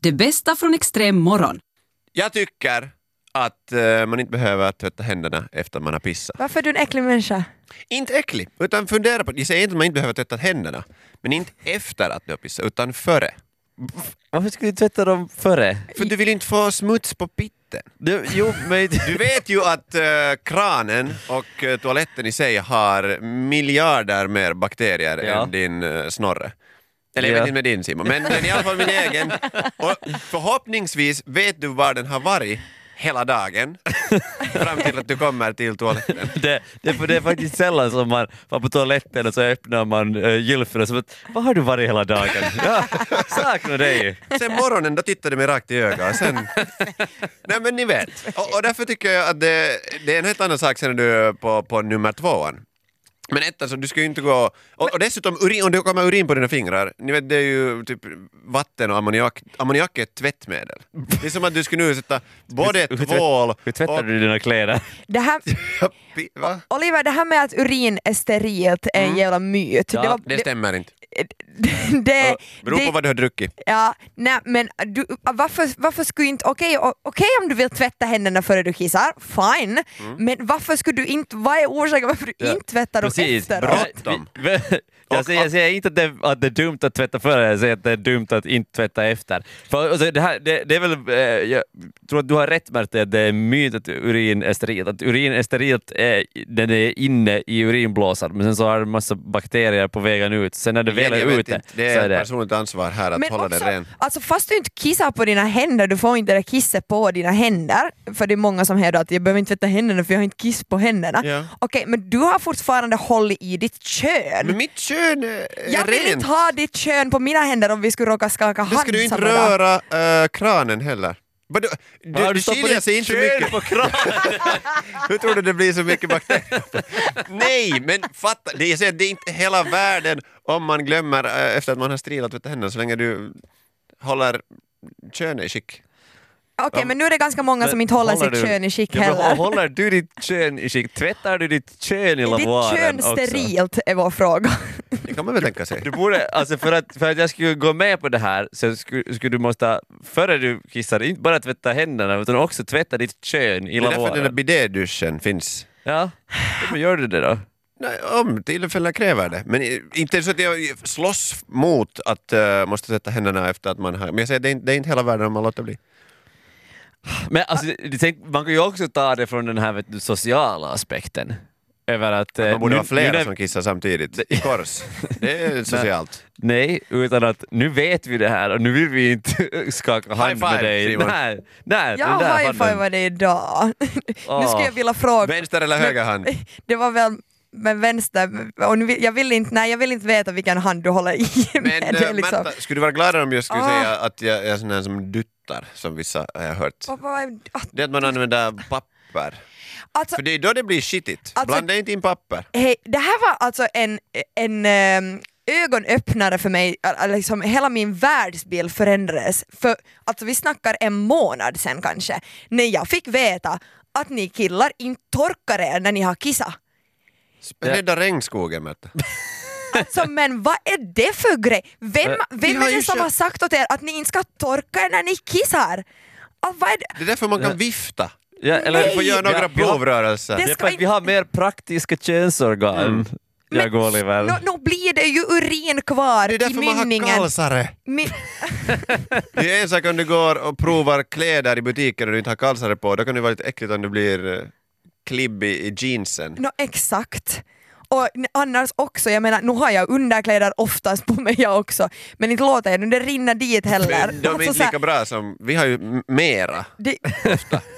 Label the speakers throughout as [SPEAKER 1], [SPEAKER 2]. [SPEAKER 1] Det bästa från extrem morgon.
[SPEAKER 2] Jag tycker att eh, man inte behöver tvätta händerna efter man har pissat.
[SPEAKER 3] Varför är du en äcklig människa?
[SPEAKER 2] Inte äcklig, utan fundera på Jag säger inte att man inte behöver tvätta händerna, men inte efter att du har pissat, utan före.
[SPEAKER 4] Varför skulle du tvätta dem före?
[SPEAKER 2] För du vill inte få smuts på pitten.
[SPEAKER 4] Du, jo, men...
[SPEAKER 2] Du vet ju att eh, kranen och eh, toaletten i sig har miljarder mer bakterier
[SPEAKER 4] Ja.
[SPEAKER 2] än din eh, snorre. Eller jag
[SPEAKER 4] Ja.
[SPEAKER 2] vet inte med din Simon, men, men i alla fall min egen. Och förhoppningsvis vet du var den har varit hela dagen fram till att du kommer till toaletten.
[SPEAKER 4] Det, det, för det är faktiskt sällan som man var på toaletten och så öppnar man uh, gylfen och så att, vad har du varit hela dagen? Ja, saknar dig!
[SPEAKER 2] Sen morgonen då tittade du mig rakt i ögat. och Sen... Nej men ni vet. Och, och därför tycker jag att det, det är en helt annan sak sen när du är på, på nummer tvåan. Men ett, alltså, du ska ju inte gå... Och, och dessutom, urin, om det kommer urin på dina fingrar, ni vet, det är ju typ vatten och ammoniak. Ammoniak är ett tvättmedel. Det är som att du skulle nu sätta både
[SPEAKER 4] Hur tvätt-
[SPEAKER 2] tvål
[SPEAKER 4] Hur tvättar
[SPEAKER 2] och...
[SPEAKER 4] du dina kläder?
[SPEAKER 3] Det här,
[SPEAKER 2] Va?
[SPEAKER 3] Oliver, det här med att urin är sterilt är en jävla myt.
[SPEAKER 4] Ja,
[SPEAKER 3] det, var,
[SPEAKER 2] Mm. Det
[SPEAKER 3] det,
[SPEAKER 2] stämmer inte.
[SPEAKER 3] det, det,
[SPEAKER 2] Beror på vad du har druckit.
[SPEAKER 3] Ja, nej men du, varför, varför skulle inte, okej o- okej om du vill tvätta händerna före du kissar, fine,
[SPEAKER 2] Mm.
[SPEAKER 3] men varför skulle du inte, vad är orsaken varför du
[SPEAKER 4] Ja,
[SPEAKER 3] inte tvättar dem
[SPEAKER 4] precis.
[SPEAKER 3] efteråt?
[SPEAKER 2] Bra. Bråttom.
[SPEAKER 4] Vi- vi- Jag säger, jag säger inte att det, att det är dumt att tvätta före, jag säger att det är dumt att inte tvätta efter. För, alltså, det, här, det, det är väl, eh, jag tror att du har rätt Märta, att det är en myt att urin är sterilt. Att urin är sterilt eh, när det är inne i urinblåsan, men sen så har det en massa bakterier på vägen ut. Sen när det väl
[SPEAKER 2] Jag
[SPEAKER 4] är
[SPEAKER 2] vet
[SPEAKER 4] ute
[SPEAKER 2] inte. Det
[SPEAKER 4] så
[SPEAKER 2] är
[SPEAKER 4] är
[SPEAKER 2] ett
[SPEAKER 4] det...
[SPEAKER 2] personligt ansvar här att
[SPEAKER 3] Men
[SPEAKER 2] hålla det
[SPEAKER 3] också,
[SPEAKER 2] rent.
[SPEAKER 3] alltså fast du inte kissar på dina händer, du får inte det där kisset på dina händer, för det är många som hävdar att jag behöver inte tvätta händerna för jag har inte kiss på händerna.
[SPEAKER 2] Ja.
[SPEAKER 3] Okej, men du har fortfarande hållit i ditt kön.
[SPEAKER 2] Men mitt kön är
[SPEAKER 3] jag vill
[SPEAKER 2] rent.
[SPEAKER 3] inte ha ditt kön på mina händer om vi skulle råka skaka hand
[SPEAKER 2] Då ska du inte
[SPEAKER 3] samma dag.
[SPEAKER 2] röra eh, kranen heller. Men du,
[SPEAKER 4] Vad har
[SPEAKER 2] du, du
[SPEAKER 4] stoppat
[SPEAKER 2] skiljer
[SPEAKER 4] ditt
[SPEAKER 2] sig inte så
[SPEAKER 4] kön
[SPEAKER 2] mycket.
[SPEAKER 4] på kranen?
[SPEAKER 2] Hur tror du det blir så mycket bakterier? Nej, men fatta, det är, så att det är inte hela världen om man glömmer eh, efter att man har strilat tvätta händerna så länge du håller könet i skick.
[SPEAKER 3] Okej, men nu är det ganska många som inte håller, sitt
[SPEAKER 4] du-
[SPEAKER 3] kön i skick
[SPEAKER 4] Ja, men
[SPEAKER 3] heller.
[SPEAKER 4] Håller du ditt kön i skick? Tvättar du ditt kön i
[SPEAKER 3] Är ditt
[SPEAKER 4] lavoaren
[SPEAKER 3] kön
[SPEAKER 4] också?
[SPEAKER 3] sterilt är vår fråga.
[SPEAKER 2] Det kan man väl tänka sig.
[SPEAKER 4] Du borde, alltså för att, för att jag skulle gå med på det här så skulle, skulle du måste, före du kissar, inte bara tvätta händerna utan också tvätta ditt kön i
[SPEAKER 2] Det är därför den där
[SPEAKER 4] lavoaren.
[SPEAKER 2] bidéduschen finns.
[SPEAKER 4] Ja, men gör du det då?
[SPEAKER 2] Nej, om tillfället kräver det. Men i- inte så att jag slåss mot att eh, måste tvätta händerna efter att man har... Men jag säger, det är, inte- det är inte hela världen om man låter bli.
[SPEAKER 4] Men alltså, det- tänk, man kan ju också ta det från den här vet du, sociala aspekten. Över att... eh,
[SPEAKER 2] Man borde
[SPEAKER 4] nu-
[SPEAKER 2] vara flera
[SPEAKER 4] nu när-
[SPEAKER 2] som kissar samtidigt. I kors. Det är socialt.
[SPEAKER 4] Nej, utan att nu vet vi det här och nu vill vi inte skaka hand
[SPEAKER 2] five,
[SPEAKER 4] med dig.
[SPEAKER 2] Simon.
[SPEAKER 4] Nej, nej,
[SPEAKER 3] Jag
[SPEAKER 4] den där Ah. handen.
[SPEAKER 3] high-fivade det idag. nu skulle jag vilja fråga,
[SPEAKER 2] Vänster eller höger hand?
[SPEAKER 3] det var väl med vänster, och nu, vill- jag, vill inte, nej, jag vill inte veta vilken hand du håller i. Men,
[SPEAKER 2] Men
[SPEAKER 3] det är
[SPEAKER 2] äh,
[SPEAKER 3] liksom,
[SPEAKER 2] Märta, skulle du vara gladare om jag skulle
[SPEAKER 3] Ah.
[SPEAKER 2] säga att jag är sån här som duttar, som vissa har jag hört?
[SPEAKER 3] Vad- vad är- att-
[SPEAKER 2] Det är att man använder papper.
[SPEAKER 3] alltså,
[SPEAKER 2] För det är då det blir skitigt.
[SPEAKER 3] Alltså-
[SPEAKER 2] Blanda inte in papper.
[SPEAKER 3] hej, det här var alltså en, en ehm, ögonöppnare för mig, Al- al- liksom, hela min världsbild förändrades. För, alltså, vi snackar en månad sen kanske, när jag fick veta att ni killar inte torkar er när ni har kissat.
[SPEAKER 2] Rädda regnskogen, Märta.
[SPEAKER 3] Alltså men vad är det för grej? Vem,
[SPEAKER 4] Men,
[SPEAKER 2] vi
[SPEAKER 3] vem
[SPEAKER 2] har
[SPEAKER 3] är
[SPEAKER 2] ju
[SPEAKER 3] det som
[SPEAKER 2] kö-
[SPEAKER 3] har sagt åt er att ni inte ska torka er när ni kissar? Ah, vad är det?
[SPEAKER 2] Det är därför man kan vifta.
[SPEAKER 4] Ja, eller,
[SPEAKER 2] Du får göra några
[SPEAKER 4] Ja, vi har-
[SPEAKER 2] provrörelser.
[SPEAKER 4] Det
[SPEAKER 3] Det
[SPEAKER 4] är
[SPEAKER 3] ska
[SPEAKER 4] för att
[SPEAKER 3] inte-
[SPEAKER 4] vi har mer praktiska könsorgan.
[SPEAKER 2] Mm.
[SPEAKER 4] Jag går Oliver.
[SPEAKER 3] Nå, nå blir det ju urin kvar
[SPEAKER 2] Det är
[SPEAKER 3] i
[SPEAKER 2] därför man har
[SPEAKER 3] mynningen.
[SPEAKER 2] kalsare.
[SPEAKER 3] Min-
[SPEAKER 2] Det är en sak om du går och provar kläder i butiken och du inte har kalsare på, då kan det vara lite äckligt om du blir eh, klibbig i jeansen.
[SPEAKER 3] nå, exakt. Och n- annars också, jag menar nu har jag underkläder oftast på mig jag också, men inte låter jag nu det rinna dit heller.
[SPEAKER 2] Men de är
[SPEAKER 3] Alltså,
[SPEAKER 2] inte
[SPEAKER 3] så här,
[SPEAKER 2] lika bra som... Vi har ju m- mera,
[SPEAKER 3] det,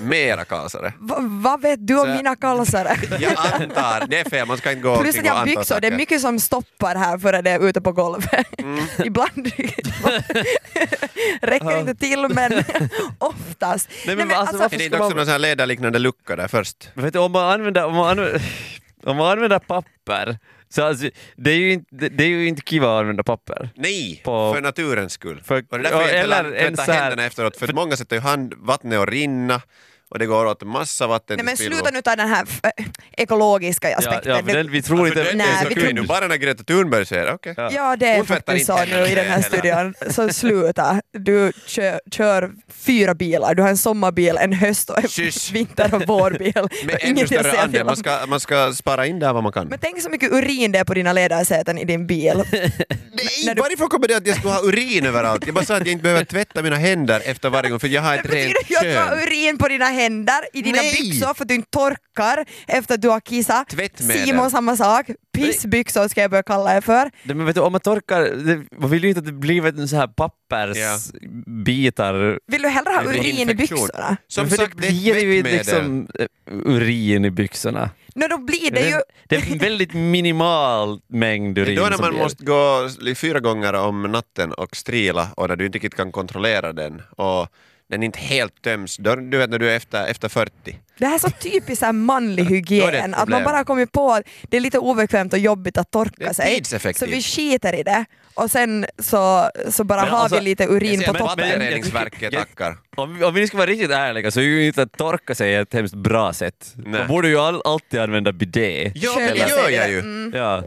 [SPEAKER 2] mera kalsare.
[SPEAKER 3] va, vad vet du om
[SPEAKER 2] Så-
[SPEAKER 3] mina kalsare?
[SPEAKER 2] Jag antar, det är fel, man ska inte gå
[SPEAKER 3] Plus
[SPEAKER 2] omkring
[SPEAKER 3] att
[SPEAKER 2] och
[SPEAKER 3] jag har
[SPEAKER 2] anta
[SPEAKER 3] byxor, det är
[SPEAKER 2] saker.
[SPEAKER 3] mycket som stoppar här före det är ute på golvet.
[SPEAKER 4] Mm.
[SPEAKER 3] Ibland räcker inte till men oftast.
[SPEAKER 4] Nej, men alltså, varför-
[SPEAKER 2] Är det
[SPEAKER 4] Ska
[SPEAKER 2] inte
[SPEAKER 4] man-
[SPEAKER 2] också någon sån här ledarliknande lucka där först?
[SPEAKER 4] Vet du, om man använder, om man använder, om man använder papper, så alltså, det, är ju inte, det- det är ju inte kiva att använda papper.
[SPEAKER 2] Nej,
[SPEAKER 4] På-
[SPEAKER 2] för naturens skull.
[SPEAKER 4] För-
[SPEAKER 2] och det är därför jag
[SPEAKER 4] eller
[SPEAKER 2] inte
[SPEAKER 4] en
[SPEAKER 2] vill
[SPEAKER 4] så
[SPEAKER 2] tvätta
[SPEAKER 4] här-
[SPEAKER 2] händerna efteråt, för, att många sätter ju hand, vattnet och rinna och det går åt massa vatten
[SPEAKER 3] Nej
[SPEAKER 2] till
[SPEAKER 3] men
[SPEAKER 2] spillo.
[SPEAKER 3] sluta nu ta den här äh, ekologiska
[SPEAKER 4] Ja,
[SPEAKER 3] aspekten.
[SPEAKER 4] ja, för den, vi tror
[SPEAKER 2] För
[SPEAKER 4] inte...
[SPEAKER 2] det, det
[SPEAKER 3] Nej,
[SPEAKER 2] är så
[SPEAKER 3] vi
[SPEAKER 2] kul
[SPEAKER 3] tror-
[SPEAKER 2] nu, bara när Greta Thunberg säger okej.
[SPEAKER 4] Ja.
[SPEAKER 3] Ja, det är
[SPEAKER 2] Hon tvättar
[SPEAKER 3] faktiskt så
[SPEAKER 2] inte
[SPEAKER 3] nu i den här
[SPEAKER 2] heller.
[SPEAKER 3] studion. Så sluta. Du kör, kör fyra bilar. Du har en sommarbil, en höst och en
[SPEAKER 2] Shush.
[SPEAKER 3] vinter och vårbil.
[SPEAKER 2] Med ännu
[SPEAKER 3] Inget jag
[SPEAKER 2] större
[SPEAKER 3] säger
[SPEAKER 2] andel,
[SPEAKER 3] fel
[SPEAKER 2] man
[SPEAKER 3] om.
[SPEAKER 2] ska, man ska spara in där vad man kan.
[SPEAKER 3] Men tänk så mycket urin det är på dina ledarsäten i din bil.
[SPEAKER 2] Det är,
[SPEAKER 3] när du-
[SPEAKER 2] Varifrån kommer det att jag skulle ha urin överallt? Jag bara sa att jag inte behöver tvätta mina händer efter varje gång för jag har ett rent
[SPEAKER 3] Betyder det att du har
[SPEAKER 2] kön.
[SPEAKER 3] urin på dina händer, i dina
[SPEAKER 2] Nej.
[SPEAKER 3] byxor för att du inte torkar efter att du har kissat?
[SPEAKER 2] Tvättmedel.
[SPEAKER 3] Simon samma sak. Pissbyxor ska jag börja kalla er för.
[SPEAKER 4] Det- Men vet du, om man torkar... Det, man vill ju inte att det blir vet du, så här
[SPEAKER 2] Ja.
[SPEAKER 4] pappersbitar.
[SPEAKER 3] Vill du hellre ha
[SPEAKER 2] Det blir
[SPEAKER 3] urin i
[SPEAKER 2] infektion.
[SPEAKER 3] byxorna?
[SPEAKER 2] Som
[SPEAKER 4] Men för
[SPEAKER 2] sagt,
[SPEAKER 4] det
[SPEAKER 2] det är ett
[SPEAKER 4] blir ju
[SPEAKER 2] tvättmedel.
[SPEAKER 4] liksom eh, urin i byxorna.
[SPEAKER 3] No, då blir det ju...
[SPEAKER 4] det är en väldigt minimal mängd
[SPEAKER 2] Det är
[SPEAKER 4] urin
[SPEAKER 2] då när
[SPEAKER 4] som
[SPEAKER 2] man
[SPEAKER 4] blir-
[SPEAKER 2] måste gå fyra gånger om natten och strila och när du inte riktigt kan kontrollera den och den inte helt töms, då, du vet när du är efter, efter 40.
[SPEAKER 3] Det här är så typiskt så här manlig
[SPEAKER 2] Då är det ett
[SPEAKER 3] hygien, att man
[SPEAKER 2] problem.
[SPEAKER 3] bara har kommit på att det är lite obekvämt och jobbigt att
[SPEAKER 2] Det är
[SPEAKER 3] torka sig. Så
[SPEAKER 2] tidseffektivt.
[SPEAKER 3] vi skiter i det och sen så, så bara
[SPEAKER 4] Men
[SPEAKER 3] har
[SPEAKER 4] alltså,
[SPEAKER 3] vi lite urin
[SPEAKER 2] Jag ser
[SPEAKER 3] på
[SPEAKER 2] att
[SPEAKER 4] men-
[SPEAKER 3] toppen.
[SPEAKER 4] men-
[SPEAKER 2] Vattenreningsverket
[SPEAKER 4] Jag-
[SPEAKER 2] tackar.
[SPEAKER 4] Om, om vi nu ska vara riktigt ärliga så är ju inte att torka sig ett hemskt bra sätt.
[SPEAKER 2] Nej.
[SPEAKER 4] Man borde ju all, alltid använda bidé.
[SPEAKER 2] Ja,
[SPEAKER 3] Skölja
[SPEAKER 2] men det gör
[SPEAKER 3] sig
[SPEAKER 2] jag
[SPEAKER 3] det.
[SPEAKER 2] ju.
[SPEAKER 4] Ja.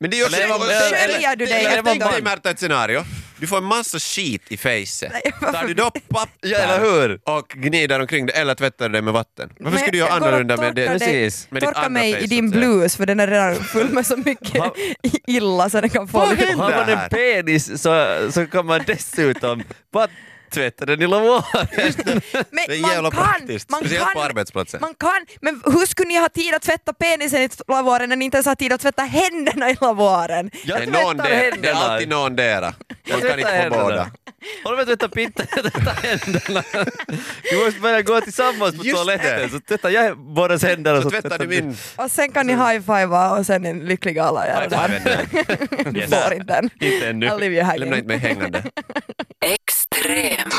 [SPEAKER 2] Men det är ju också...
[SPEAKER 4] Eller- eller-
[SPEAKER 3] Sköljer du dig
[SPEAKER 2] Eller-
[SPEAKER 3] efter
[SPEAKER 2] Tänk dig
[SPEAKER 4] dagen?
[SPEAKER 2] Märta ett scenario. Du får en massa skit i fejset.
[SPEAKER 3] varför-
[SPEAKER 2] Tar du då papper
[SPEAKER 4] Ja, eller hur?
[SPEAKER 2] och gnider omkring det eller tvättar du det med vatten? Varför
[SPEAKER 3] Men
[SPEAKER 2] skulle du göra
[SPEAKER 3] jag går och
[SPEAKER 2] annorlunda med det?
[SPEAKER 3] torkar dig-
[SPEAKER 4] Precis.
[SPEAKER 2] Med ditt
[SPEAKER 3] Torka
[SPEAKER 2] andra
[SPEAKER 3] mig
[SPEAKER 2] face,
[SPEAKER 3] i
[SPEAKER 2] så
[SPEAKER 3] din
[SPEAKER 2] att säga.
[SPEAKER 3] blus för den är redan full med så mycket
[SPEAKER 4] Ha-
[SPEAKER 3] illa så den kan få
[SPEAKER 2] Vad
[SPEAKER 3] lite...
[SPEAKER 2] händer?
[SPEAKER 4] Har man
[SPEAKER 2] Där.
[SPEAKER 4] en penis så, så kan man dessutom bara tvätta den i lavoaren.
[SPEAKER 2] Det är
[SPEAKER 3] Men
[SPEAKER 2] jävla
[SPEAKER 3] man kan,
[SPEAKER 2] praktiskt.
[SPEAKER 3] man
[SPEAKER 2] Speciellt på
[SPEAKER 3] kan,
[SPEAKER 2] arbetsplatsen.
[SPEAKER 3] man kan, men hur skulle ni ha tid att tvätta penisen i lavoaren när ni inte ens har tid att tvätta händerna i lavoaren?
[SPEAKER 2] Det är någon där, det är
[SPEAKER 4] händerna.
[SPEAKER 2] alltid någon där. Man kan
[SPEAKER 4] Jag tvättar
[SPEAKER 2] inte få
[SPEAKER 4] händerna.
[SPEAKER 2] båda.
[SPEAKER 4] Håll med att tvätta pitten, tvätta händerna. Du måste börja gå tillsammans på
[SPEAKER 2] Just
[SPEAKER 4] toaletten
[SPEAKER 2] det.
[SPEAKER 4] så tvättar jag bådas händer och
[SPEAKER 2] Så tvättar du min...
[SPEAKER 3] Och sen kan ni high-fivea och sen är ni lyckliga alla i alla fall. Du
[SPEAKER 4] Yes.
[SPEAKER 3] får inte den.
[SPEAKER 4] Inte ännu.
[SPEAKER 3] I'll leave you
[SPEAKER 2] Lämna
[SPEAKER 3] hanging.
[SPEAKER 2] inte mig hängande.
[SPEAKER 1] Extrem.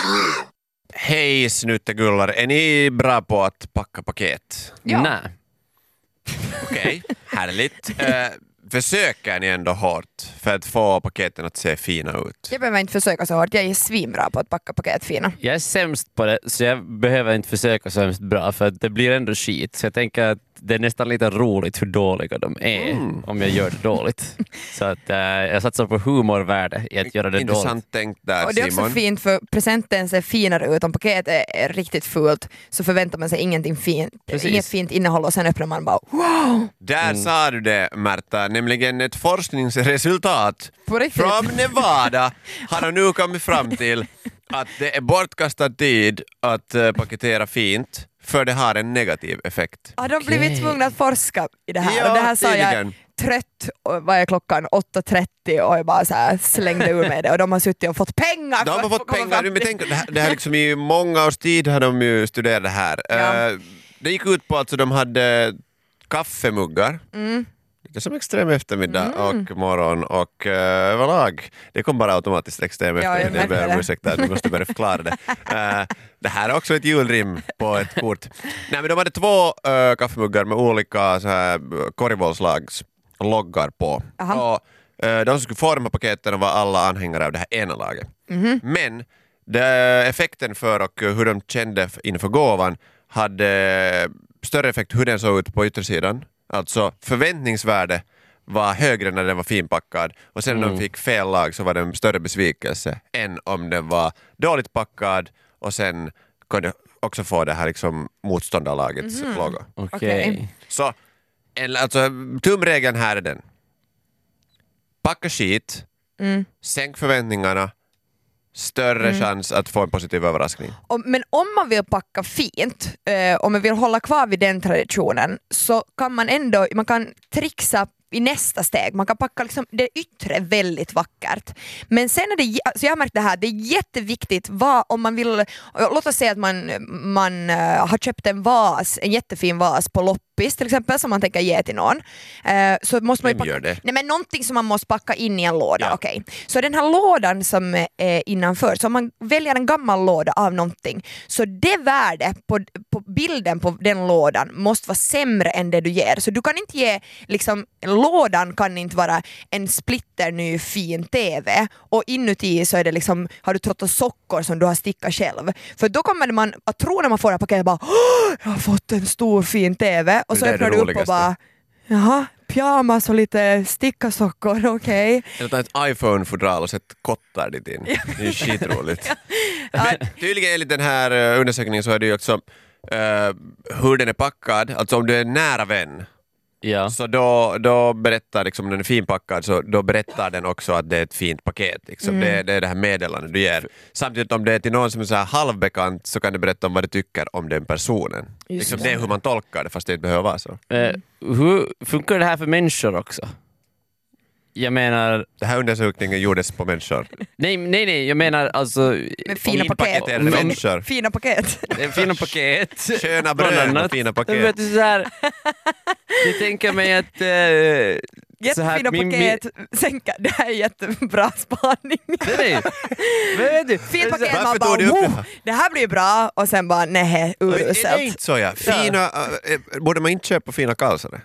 [SPEAKER 2] Hej snuttegullar, är ni bra på att packa paket?
[SPEAKER 3] Ja.
[SPEAKER 4] Nej.
[SPEAKER 2] Okej, härligt. Eh, försöker ni ändå hårt för att få paketen att se fina ut?
[SPEAKER 3] Jag behöver inte försöka så hårt, jag är svinbra på att packa paket fina.
[SPEAKER 4] Jag är sämst på det, så jag behöver inte försöka så hemskt bra, för att det blir ändå skit. Så jag tänker att det är nästan lite roligt hur dåliga de är,
[SPEAKER 2] Mm.
[SPEAKER 4] om jag gör det dåligt. så att, eh, jag satsar på humorvärde i att göra det dåligt.
[SPEAKER 2] Intressant tänkt där
[SPEAKER 3] Och det är också
[SPEAKER 2] Simon.
[SPEAKER 3] fint för presenten ser finare ut, om paketet är riktigt fult så förväntar man sig ingenting fint,
[SPEAKER 4] Precis.
[SPEAKER 3] inget fint innehåll och sen öppnar man bara
[SPEAKER 2] Där
[SPEAKER 3] Mm.
[SPEAKER 2] sa du det Märta, nämligen ett forskningsresultat
[SPEAKER 3] På riktigt?
[SPEAKER 2] från Nevada har de nu kommit fram till att det är bortkastad tid att eh, paketera fint för det har en negativ effekt.
[SPEAKER 3] har de blivit tvungna att forska i det här?
[SPEAKER 2] Ja,
[SPEAKER 3] och det här sa jag
[SPEAKER 2] tydligen.
[SPEAKER 3] trött, och vad är klockan, 8.30 och jag bara så här slängde ur mig det och de har suttit och fått pengar!
[SPEAKER 2] De
[SPEAKER 3] för
[SPEAKER 2] har
[SPEAKER 3] att
[SPEAKER 2] fått
[SPEAKER 3] komma
[SPEAKER 2] pengar,
[SPEAKER 3] fram
[SPEAKER 2] men
[SPEAKER 3] till-
[SPEAKER 2] tänk, det här, det här liksom i många års tid har de ju studerat det här.
[SPEAKER 3] Ja.
[SPEAKER 2] Eh, Det gick ut på att alltså, de hade kaffemuggar,
[SPEAKER 3] Mm.
[SPEAKER 2] lite som extrem eftermiddag och morgon och eh, överlag. Det kom bara automatiskt extrem
[SPEAKER 3] jag
[SPEAKER 2] eftermiddag, jag
[SPEAKER 3] märkte
[SPEAKER 2] ber om
[SPEAKER 3] det.
[SPEAKER 2] ursäkt där, du måste börja förklara det. Eh, Det här är också ett julrim på ett kort. Nej, men de hade två eh, kaffemuggar med olika så här, korvbollslags loggar på.
[SPEAKER 3] Aha.
[SPEAKER 2] Och, eh, de som skulle forma paketen var alla anhängare av det här ena laget. Men det, effekten för och hur de kände f- inför gåvan hade större effekt hur den såg ut på yttersidan. Alltså förväntningsvärde var högre när den var finpackad och sen när de fick fel lag så var det en större besvikelse än om den var dåligt packad och sen kunde också få det här liksom motståndarlagets logga.
[SPEAKER 4] Okej.
[SPEAKER 3] Okej.
[SPEAKER 2] Så en- alltså, tumregeln här är den. Packa skit, sänk förväntningarna, större chans att få en positiv överraskning.
[SPEAKER 3] Om- Men om man vill packa fint, eh, om man vill hålla kvar vid den traditionen, så kan man ändå man kan trixa i nästa steg. Man kan packa liksom det yttre väldigt vackert. Men sen är det, j- alltså jag har märkt det här, det är jätteviktigt vad, om man vill, låt oss säga att man, man eh, har köpt en vas, en jättefin vas på loppis kompis till exempel som man tänker ge till någon eh, så måste man ju
[SPEAKER 2] Vem gör det?
[SPEAKER 3] Nej men någonting som man måste packa in i en låda,
[SPEAKER 2] Ja.
[SPEAKER 3] okej. Så den här lådan som är innanför, så om man väljer en gammal låda av någonting, så det värdet på, på bilden på den lådan måste vara sämre än det du ger. Så du kan inte ge, liksom, lådan kan inte vara en splitterny fin TV och inuti så är det liksom, har du trottat sockor som du har stickat själv. För då kommer man att tro när man får det här paketet bara "Åh, jag har fått en stor fin TV och
[SPEAKER 2] Det
[SPEAKER 3] så
[SPEAKER 2] där är det
[SPEAKER 3] öppnar du upp och
[SPEAKER 2] roligaste.
[SPEAKER 3] bara Jaha, pyjamas och lite stickasockor, okej.
[SPEAKER 2] Eller ta ett iPhone-fodral och sätt kottar dit in. Det är ju skitroligt. Men tydligen enligt den här eh, undersökningen så är det ju också eh, hur den är packad, alltså om du är en nära vän
[SPEAKER 4] Ja.
[SPEAKER 2] Så då, då berättar, liksom, om den är finpackad, så då berättar den också att det är ett fint paket. Liksom.
[SPEAKER 4] Mm.
[SPEAKER 2] Det, det är det här meddelandet du ger. Samtidigt om det är till någon som är så här halvbekant så kan du berätta om vad du tycker om den personen. Liksom,
[SPEAKER 3] det.
[SPEAKER 2] det är hur man tolkar det fast det inte behöver vara så.
[SPEAKER 4] Eh, hur funkar det här för människor också? Jag menar,
[SPEAKER 2] Den här undersökningen gjordes på människor.
[SPEAKER 4] nej, nej, nej jag menar alltså...
[SPEAKER 3] Med fina paket.
[SPEAKER 2] Paketerade
[SPEAKER 4] Om-
[SPEAKER 2] människor.
[SPEAKER 3] Fina paket.
[SPEAKER 4] Eh, Fina paket.
[SPEAKER 2] Sköna
[SPEAKER 4] Bland
[SPEAKER 2] bröd
[SPEAKER 4] annat.
[SPEAKER 2] och fina
[SPEAKER 4] Jag vet,
[SPEAKER 2] paket.
[SPEAKER 4] det är så här, jag tänker mig att... Eh, så här,
[SPEAKER 3] Jättefina
[SPEAKER 4] min- min-
[SPEAKER 3] paket, sänka. Det här är jättebra spaning.
[SPEAKER 4] Nej, nej. Vad vet du?
[SPEAKER 3] Fint
[SPEAKER 4] Det är så
[SPEAKER 3] paket,
[SPEAKER 2] Varför
[SPEAKER 4] här-
[SPEAKER 2] tog
[SPEAKER 3] man bara
[SPEAKER 2] du upp det
[SPEAKER 3] oh,
[SPEAKER 2] här?
[SPEAKER 3] det här blir bra och sen bara nej,
[SPEAKER 2] Det är
[SPEAKER 3] uruselt.
[SPEAKER 2] inte så ja. Fina, eh, eh, borde man inte köpa fina kalsare?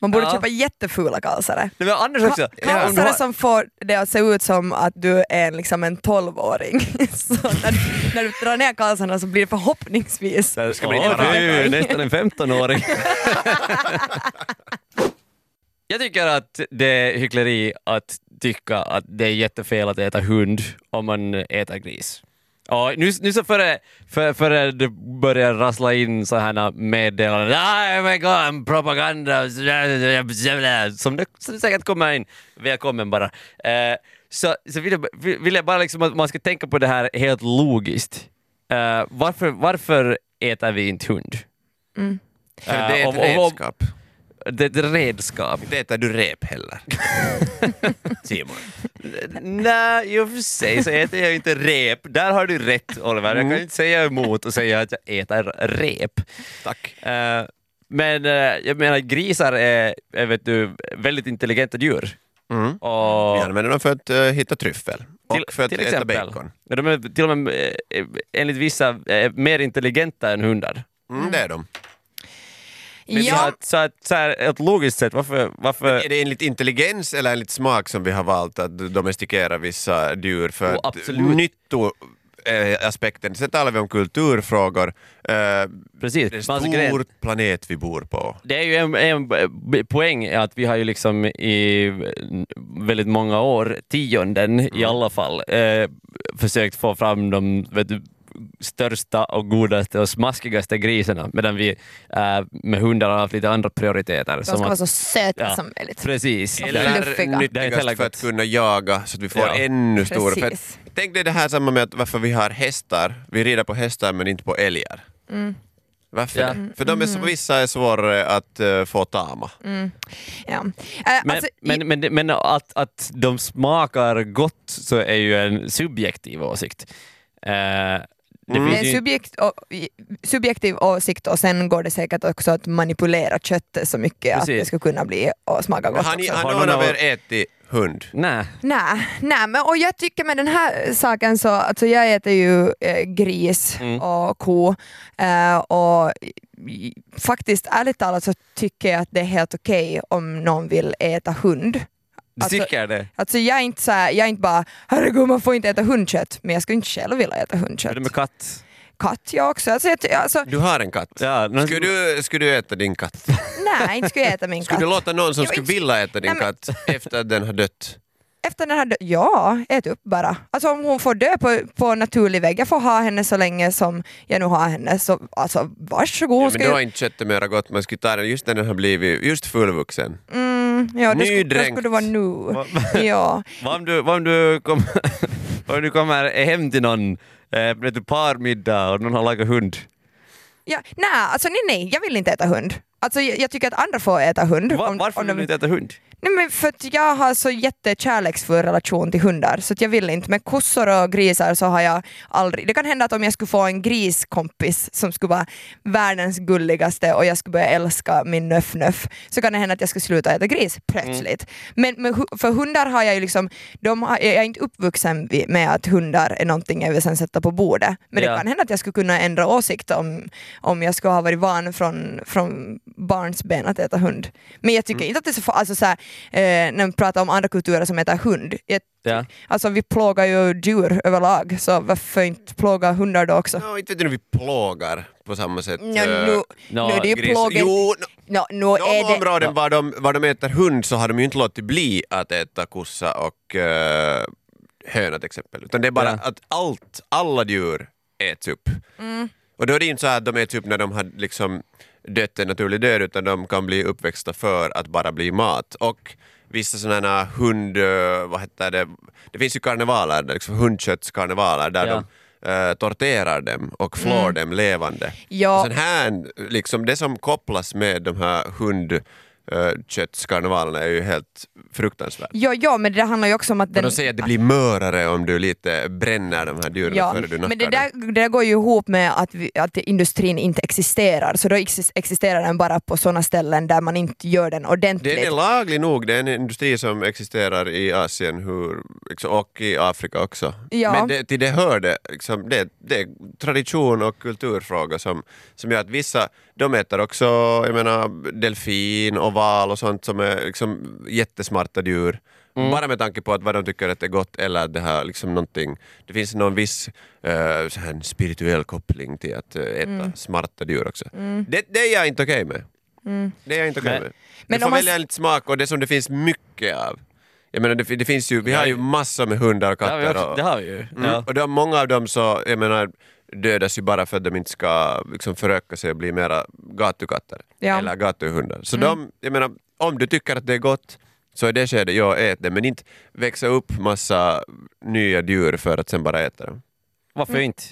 [SPEAKER 3] Man borde
[SPEAKER 4] Ja.
[SPEAKER 3] köpa jättefula kalsare.
[SPEAKER 4] Nej, men Anders också.
[SPEAKER 3] Ka- Kalsare
[SPEAKER 4] Ja.
[SPEAKER 3] som får det att se ut som att du är en- liksom en 12-åring. Så när, när du drar ner kalsarna så blir det förhoppningsvis...
[SPEAKER 4] Det
[SPEAKER 2] ska bli lite
[SPEAKER 4] är ju
[SPEAKER 3] varmt.
[SPEAKER 4] nästan en 15-åring. Jag tycker att det är hyckleri att tycka att det är jättefel att äta hund om man äter gris. Och nu, nu så före, före, före det börjar rassla in så här meddelanden, ah, oh my god, propaganda, som det, som det säkert kommer in, välkommen bara. Eh, så så vill, jag, vill jag bara liksom att man ska tänka på det här helt logiskt. Eh, varför, varför äter vi inte hund? Eh,
[SPEAKER 2] För det är ett
[SPEAKER 4] och- och- och-
[SPEAKER 2] redskap.
[SPEAKER 4] Det är ett redskap.
[SPEAKER 2] Inte äter du rep heller. Simon.
[SPEAKER 4] Nej, i och för sig så äter jag ju inte rep. Där har du rätt Oliver, jag kan
[SPEAKER 2] Mm.
[SPEAKER 4] inte säga emot och säga att jag äter rep.
[SPEAKER 2] Tack.
[SPEAKER 4] Eh, men eh, jag menar grisar är, är vet du, väldigt intelligenta djur.
[SPEAKER 2] Mm.
[SPEAKER 4] Och
[SPEAKER 2] Vi använder dem för att eh, hitta tryffel och
[SPEAKER 4] Till-
[SPEAKER 2] för att
[SPEAKER 4] till
[SPEAKER 2] äta
[SPEAKER 4] exempel.
[SPEAKER 2] bacon.
[SPEAKER 4] Ja, De är till och med eh, enligt vissa eh, mer intelligenta än hundar.
[SPEAKER 2] Mm, det är de.
[SPEAKER 4] Men så
[SPEAKER 3] Ja,
[SPEAKER 4] att, så att, så här, ett logiskt sätt, varför... varför
[SPEAKER 2] Är det enligt intelligens eller enligt smak som vi har valt att domestikera vissa djur för
[SPEAKER 4] Åh,
[SPEAKER 2] att
[SPEAKER 4] Oh, absolut.
[SPEAKER 2] nytto eh, aspekten. Sen talar vi om kulturfrågor. Eh,
[SPEAKER 4] precis,
[SPEAKER 2] det är en
[SPEAKER 4] Mats Gren-
[SPEAKER 2] stor planet vi bor på.
[SPEAKER 4] Det är ju en, en b- poäng är att vi har ju liksom i väldigt många år, tionden
[SPEAKER 3] Mm.
[SPEAKER 4] i alla fall, eh, försökt få fram de vet du, största och godaste och smaskigaste grisarna medan vi eh, med hundar har haft lite andra prioriteter.
[SPEAKER 3] de ska
[SPEAKER 4] att-
[SPEAKER 3] vara så söta
[SPEAKER 4] Ja,
[SPEAKER 3] som möjligt.
[SPEAKER 4] Precis.
[SPEAKER 2] Eller
[SPEAKER 3] fluffiga.
[SPEAKER 4] Det är inte heller
[SPEAKER 2] nyttigast för
[SPEAKER 4] gott.
[SPEAKER 2] att kunna jaga så att vi får
[SPEAKER 4] Ja.
[SPEAKER 2] ännu större. För att,
[SPEAKER 3] Precis.
[SPEAKER 2] tänk dig det här samma med att varför vi har hästar. Vi rider på hästar men inte på älgar. Varför?
[SPEAKER 4] Ja.
[SPEAKER 2] För de är, så- vissa är svårare att eh, få tama.
[SPEAKER 3] Ja. Eh,
[SPEAKER 4] Men,
[SPEAKER 3] alltså, i-
[SPEAKER 4] men, men, men att, att de smakar gott så är ju en subjektiv åsikt. Eh, det
[SPEAKER 3] Det
[SPEAKER 4] finns
[SPEAKER 3] är
[SPEAKER 4] ju-
[SPEAKER 2] Mm.
[SPEAKER 3] en subjekt och, i- subjektiv åsikt och sen går det säkert också att manipulera köttet så mycket att
[SPEAKER 4] Precis.
[SPEAKER 3] det skulle kunna bli och smaka gott
[SPEAKER 2] Har, ni,
[SPEAKER 3] också.
[SPEAKER 2] har
[SPEAKER 4] Har
[SPEAKER 2] någon
[SPEAKER 4] någon
[SPEAKER 2] av
[SPEAKER 4] av-
[SPEAKER 2] er ätit hund?
[SPEAKER 4] Nej.
[SPEAKER 3] Nej, nej men, och jag tycker med den här saken så, alltså jag äter ju eh, gris
[SPEAKER 2] Mm.
[SPEAKER 3] och ko eh, och i- faktiskt ärligt talat så tycker jag att det är helt okej om någon vill äta hund.
[SPEAKER 4] Du
[SPEAKER 3] Alltså-
[SPEAKER 4] tycker det?
[SPEAKER 3] Alltså jag är inte, så här, jag är inte bara herregud man får inte äta hundkött, men jag skulle inte själv vilja äta
[SPEAKER 4] Är
[SPEAKER 3] hundkött.
[SPEAKER 4] det med katt?
[SPEAKER 3] Katt jag också, alltså, jag, ty- alltså,
[SPEAKER 2] Du har en katt.
[SPEAKER 4] Ja, men-
[SPEAKER 2] Skulle, du, skulle du äta din katt?
[SPEAKER 3] nej inte skulle jag äta min
[SPEAKER 2] Skulle
[SPEAKER 3] katt.
[SPEAKER 2] du låta någon som
[SPEAKER 3] Jag
[SPEAKER 2] skulle
[SPEAKER 3] vet-
[SPEAKER 2] vilja äta din
[SPEAKER 3] Nej, men-
[SPEAKER 2] katt efter att den har dött?
[SPEAKER 3] Efter den här dö- ja, ät upp bara. Alltså om hon får dö på, på naturlig väg, jag får ha henne så länge som jag nu har henne, så alltså varsågod.
[SPEAKER 2] Ja,
[SPEAKER 3] hon
[SPEAKER 2] men då
[SPEAKER 3] ska
[SPEAKER 2] har
[SPEAKER 3] ju,
[SPEAKER 2] inte köttet mera gott, man skulle ta den just när den har blivit just fullvuxen.
[SPEAKER 3] mm, ja, det skulle, då
[SPEAKER 2] nydränkt.
[SPEAKER 3] skulle det vara nu. ja.
[SPEAKER 4] Vad om du, vad om du, kom, vad om du kommer hem till någon, eh, vet du, parmiddag och någon har lagat hund?
[SPEAKER 3] Ja, nej, alltså nej, nej, jag vill inte äta hund. Alltså jag, jag tycker att andra får äta hund.
[SPEAKER 4] Va,
[SPEAKER 3] om-
[SPEAKER 4] varför
[SPEAKER 3] om
[SPEAKER 4] vill
[SPEAKER 3] de-
[SPEAKER 4] du inte äta hund?
[SPEAKER 3] Nej men för att jag har så jättekärleksfull relation till hundar så att jag vill inte. Med kossor och grisar så har jag aldrig... Det kan hända att om jag skulle få en griskompis som skulle vara världens gulligaste och jag skulle börja älska min nöff-nöff så kan det hända att jag skulle sluta äta gris plötsligt. Men, men hu- för hundar har jag ju liksom... De har, jag är inte uppvuxen vid- med att hundar är någonting jag vill sen sätta på bordet. Men
[SPEAKER 4] Ja.
[SPEAKER 3] det kan hända att jag skulle kunna ändra åsikt om, om jag skulle ha varit van från, från barnsben att äta hund. Men jag tycker inte att det är så, fa- alltså så här, eh, när man pratar om andra kulturer som äter hund. Jag,
[SPEAKER 4] Ja.
[SPEAKER 3] Alltså vi plågar ju djur överlag, så varför inte plåga hundar då också?
[SPEAKER 2] Ja, inte vet jag nu vi plågar på samma sätt.
[SPEAKER 3] Ja, nu,
[SPEAKER 4] nå,
[SPEAKER 3] nu är det ju
[SPEAKER 2] Eh, gris.
[SPEAKER 3] plågel...
[SPEAKER 2] Jo, no,
[SPEAKER 3] Nå, nu
[SPEAKER 2] de
[SPEAKER 3] är det...
[SPEAKER 2] områden var de, var de äter hund så har de ju inte låtit bli att äta kossa och eh, höna till exempel. Utan det är bara
[SPEAKER 4] Ja.
[SPEAKER 2] att allt, alla djur äts upp.
[SPEAKER 3] Mm.
[SPEAKER 2] Och då är det inte så här att de äts upp när de har liksom dött en naturlig död utan de kan bli uppväxta för att bara bli mat. Och vissa sådana här hund... eh, Vad heter det? Det finns ju karnevaler, liksom hundköttskarnevaler där
[SPEAKER 4] Ja.
[SPEAKER 2] de eh, torterar dem och flår
[SPEAKER 3] Mm.
[SPEAKER 2] dem levande.
[SPEAKER 3] Ja.
[SPEAKER 2] Och sen Alltså här, liksom det som kopplas med de här hundköttskarnevalerna är ju helt fruktansvärt.
[SPEAKER 3] Ja, ja, men det där handlar ju också om att...
[SPEAKER 2] Men
[SPEAKER 3] Den,
[SPEAKER 2] de säger att det blir mörare om du lite bränner de här djuren
[SPEAKER 3] Ja,
[SPEAKER 2] före du nackar
[SPEAKER 3] men det
[SPEAKER 2] dem.
[SPEAKER 3] där, det där går ju ihop med att, vi, att industrin inte existerar, så då exis- existerar den bara på sådana ställen där man inte gör den ordentligt.
[SPEAKER 2] Den är laglig nog, det är en industri som existerar i Asien hur, liksom, och i Afrika också.
[SPEAKER 3] Ja.
[SPEAKER 2] Men det, till det hör det, liksom, det, det är tradition och kulturfråga som, som gör att vissa, de äter också jag menar, delfin och val och sånt som är liksom, jättesmarta djur. Bara med tanke på att vad de tycker att det är gott eller det här liksom någonting, det finns någon viss eh, så här, spirituell koppling till att eh, äta
[SPEAKER 3] Mm.
[SPEAKER 2] smarta djur också. Det, det är jag inte okej med.
[SPEAKER 3] Mm.
[SPEAKER 2] Det är jag inte okej
[SPEAKER 4] Men-
[SPEAKER 2] med.
[SPEAKER 3] Men
[SPEAKER 2] du får
[SPEAKER 3] om man
[SPEAKER 2] välja
[SPEAKER 3] s-
[SPEAKER 2] lite smak och det som det finns mycket av. Jag menar, det, det finns ju, vi har ju massor med hundar och
[SPEAKER 4] Det har vi,
[SPEAKER 2] katter.
[SPEAKER 4] också,
[SPEAKER 2] och,
[SPEAKER 4] det har vi ju.
[SPEAKER 2] mm,
[SPEAKER 4] Ja.
[SPEAKER 2] och de, många av dem så, jag menar, dödas ju bara för att de inte ska liksom, föröka sig och bli mera gatukatter
[SPEAKER 3] Ja.
[SPEAKER 2] eller gatuhundar. Så
[SPEAKER 4] Mm.
[SPEAKER 2] de, jag menar, om du tycker att det är gott så är det skedet, jag ät det, men inte växa upp massa nya djur för att sen bara äta dem.
[SPEAKER 4] Varför inte?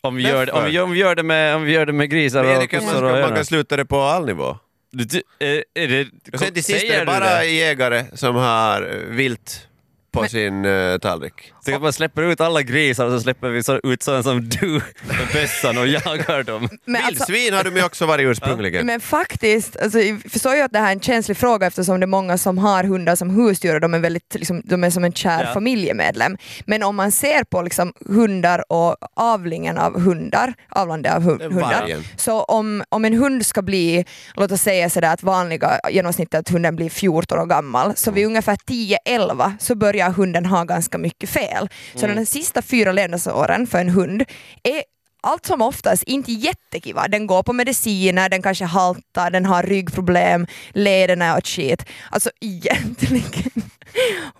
[SPEAKER 4] Om vi,
[SPEAKER 2] Därför.
[SPEAKER 4] gör det, om, vi, gör- om, vi gör det med, om vi gör det med
[SPEAKER 2] Men
[SPEAKER 4] grisar och
[SPEAKER 2] Erika, man,
[SPEAKER 4] kossor
[SPEAKER 2] ska,
[SPEAKER 4] och
[SPEAKER 2] man
[SPEAKER 4] hönor.
[SPEAKER 2] kan sluta det på all nivå.
[SPEAKER 4] Du- du- är- är det-
[SPEAKER 2] Och sen till sist är
[SPEAKER 4] säger
[SPEAKER 2] det
[SPEAKER 4] du
[SPEAKER 2] bara
[SPEAKER 4] det?
[SPEAKER 2] jägare som har eh, vilt på sin eh, tallrik.
[SPEAKER 4] Tänk att man släpper ut alla grisar och så släpper vi så, ut sådana som du med bössan och jagar dem.
[SPEAKER 3] Men alltså-
[SPEAKER 2] Vildsvin har de ju också varit ursprungligen.
[SPEAKER 3] Men faktiskt, alltså, jag förstår ju att det här är en känslig fråga eftersom det är många som har hundar som husdjur och de är, väldigt, liksom, de är som en kär
[SPEAKER 4] Ja.
[SPEAKER 3] familjemedlem. Men om man ser på liksom, hundar och avlingen av hundar, avlande av hu- hundar,
[SPEAKER 2] vargen.
[SPEAKER 3] så om, om en hund ska bli, låt oss säga sådär att vanliga genomsnittet att hunden blir 14 år gammal, så vid ungefär 10-11 så börjar hunden ha ganska mycket fel. Så de sista fyra levnadsåren för en hund är allt som oftast inte jättekiva. Den går på mediciner, den kanske haltar, den har ryggproblem, lederna och shit. Alltså egentligen...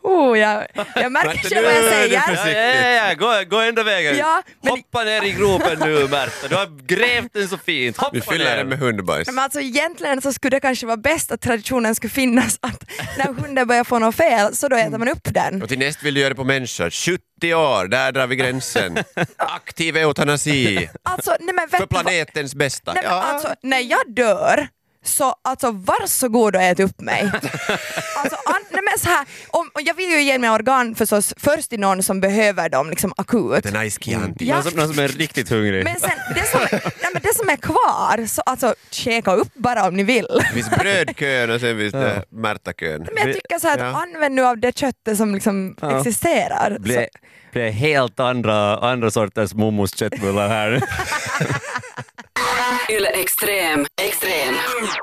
[SPEAKER 3] Oh, jag, jag märker själv vad jag
[SPEAKER 2] Nu är du
[SPEAKER 3] säger.
[SPEAKER 2] försiktig.
[SPEAKER 4] Ja, ja, ja, gå, gå ända vägen.
[SPEAKER 3] Ja, men-
[SPEAKER 4] Hoppa ner i gropen nu Märta, du har grävt den så fint. Hoppa
[SPEAKER 2] Vi fyller
[SPEAKER 4] ner.
[SPEAKER 2] den med hundbajs.
[SPEAKER 3] Men alltså egentligen så skulle det kanske vara bäst att traditionen skulle finnas att när hunden börjar få något fel så då äter man upp den.
[SPEAKER 2] Och till näst vill du göra det på människor. 70 år, där drar vi gränsen. Aktiv eutanasi.
[SPEAKER 3] Alltså, nej men
[SPEAKER 2] För
[SPEAKER 3] vet du vad?
[SPEAKER 2] planetens bästa.
[SPEAKER 3] Nej, men
[SPEAKER 2] Ja.
[SPEAKER 3] alltså, när jag dör, så alltså varsågod och ät upp mig. alltså, an, nej, men så här, om, och jag vill ju ge mina organ förstås först till någon som behöver dem liksom akut.
[SPEAKER 2] Det är nice Chianti.
[SPEAKER 3] Ja.
[SPEAKER 4] Någon, som, någon som är riktigt hungrig.
[SPEAKER 3] Men sen det som, nej, men det som är kvar, så alltså käka upp bara om ni vill.
[SPEAKER 2] Det finns brödkön och sen finns det Märtakön.
[SPEAKER 3] Men jag tycker så här, att
[SPEAKER 2] Ja.
[SPEAKER 3] använd nu av det köttet som liksom
[SPEAKER 4] Ja.
[SPEAKER 3] existerar. Så,
[SPEAKER 4] blir, blir helt andra, andra sorters momos köttbullar här.
[SPEAKER 1] Yle Extrem. Extrem.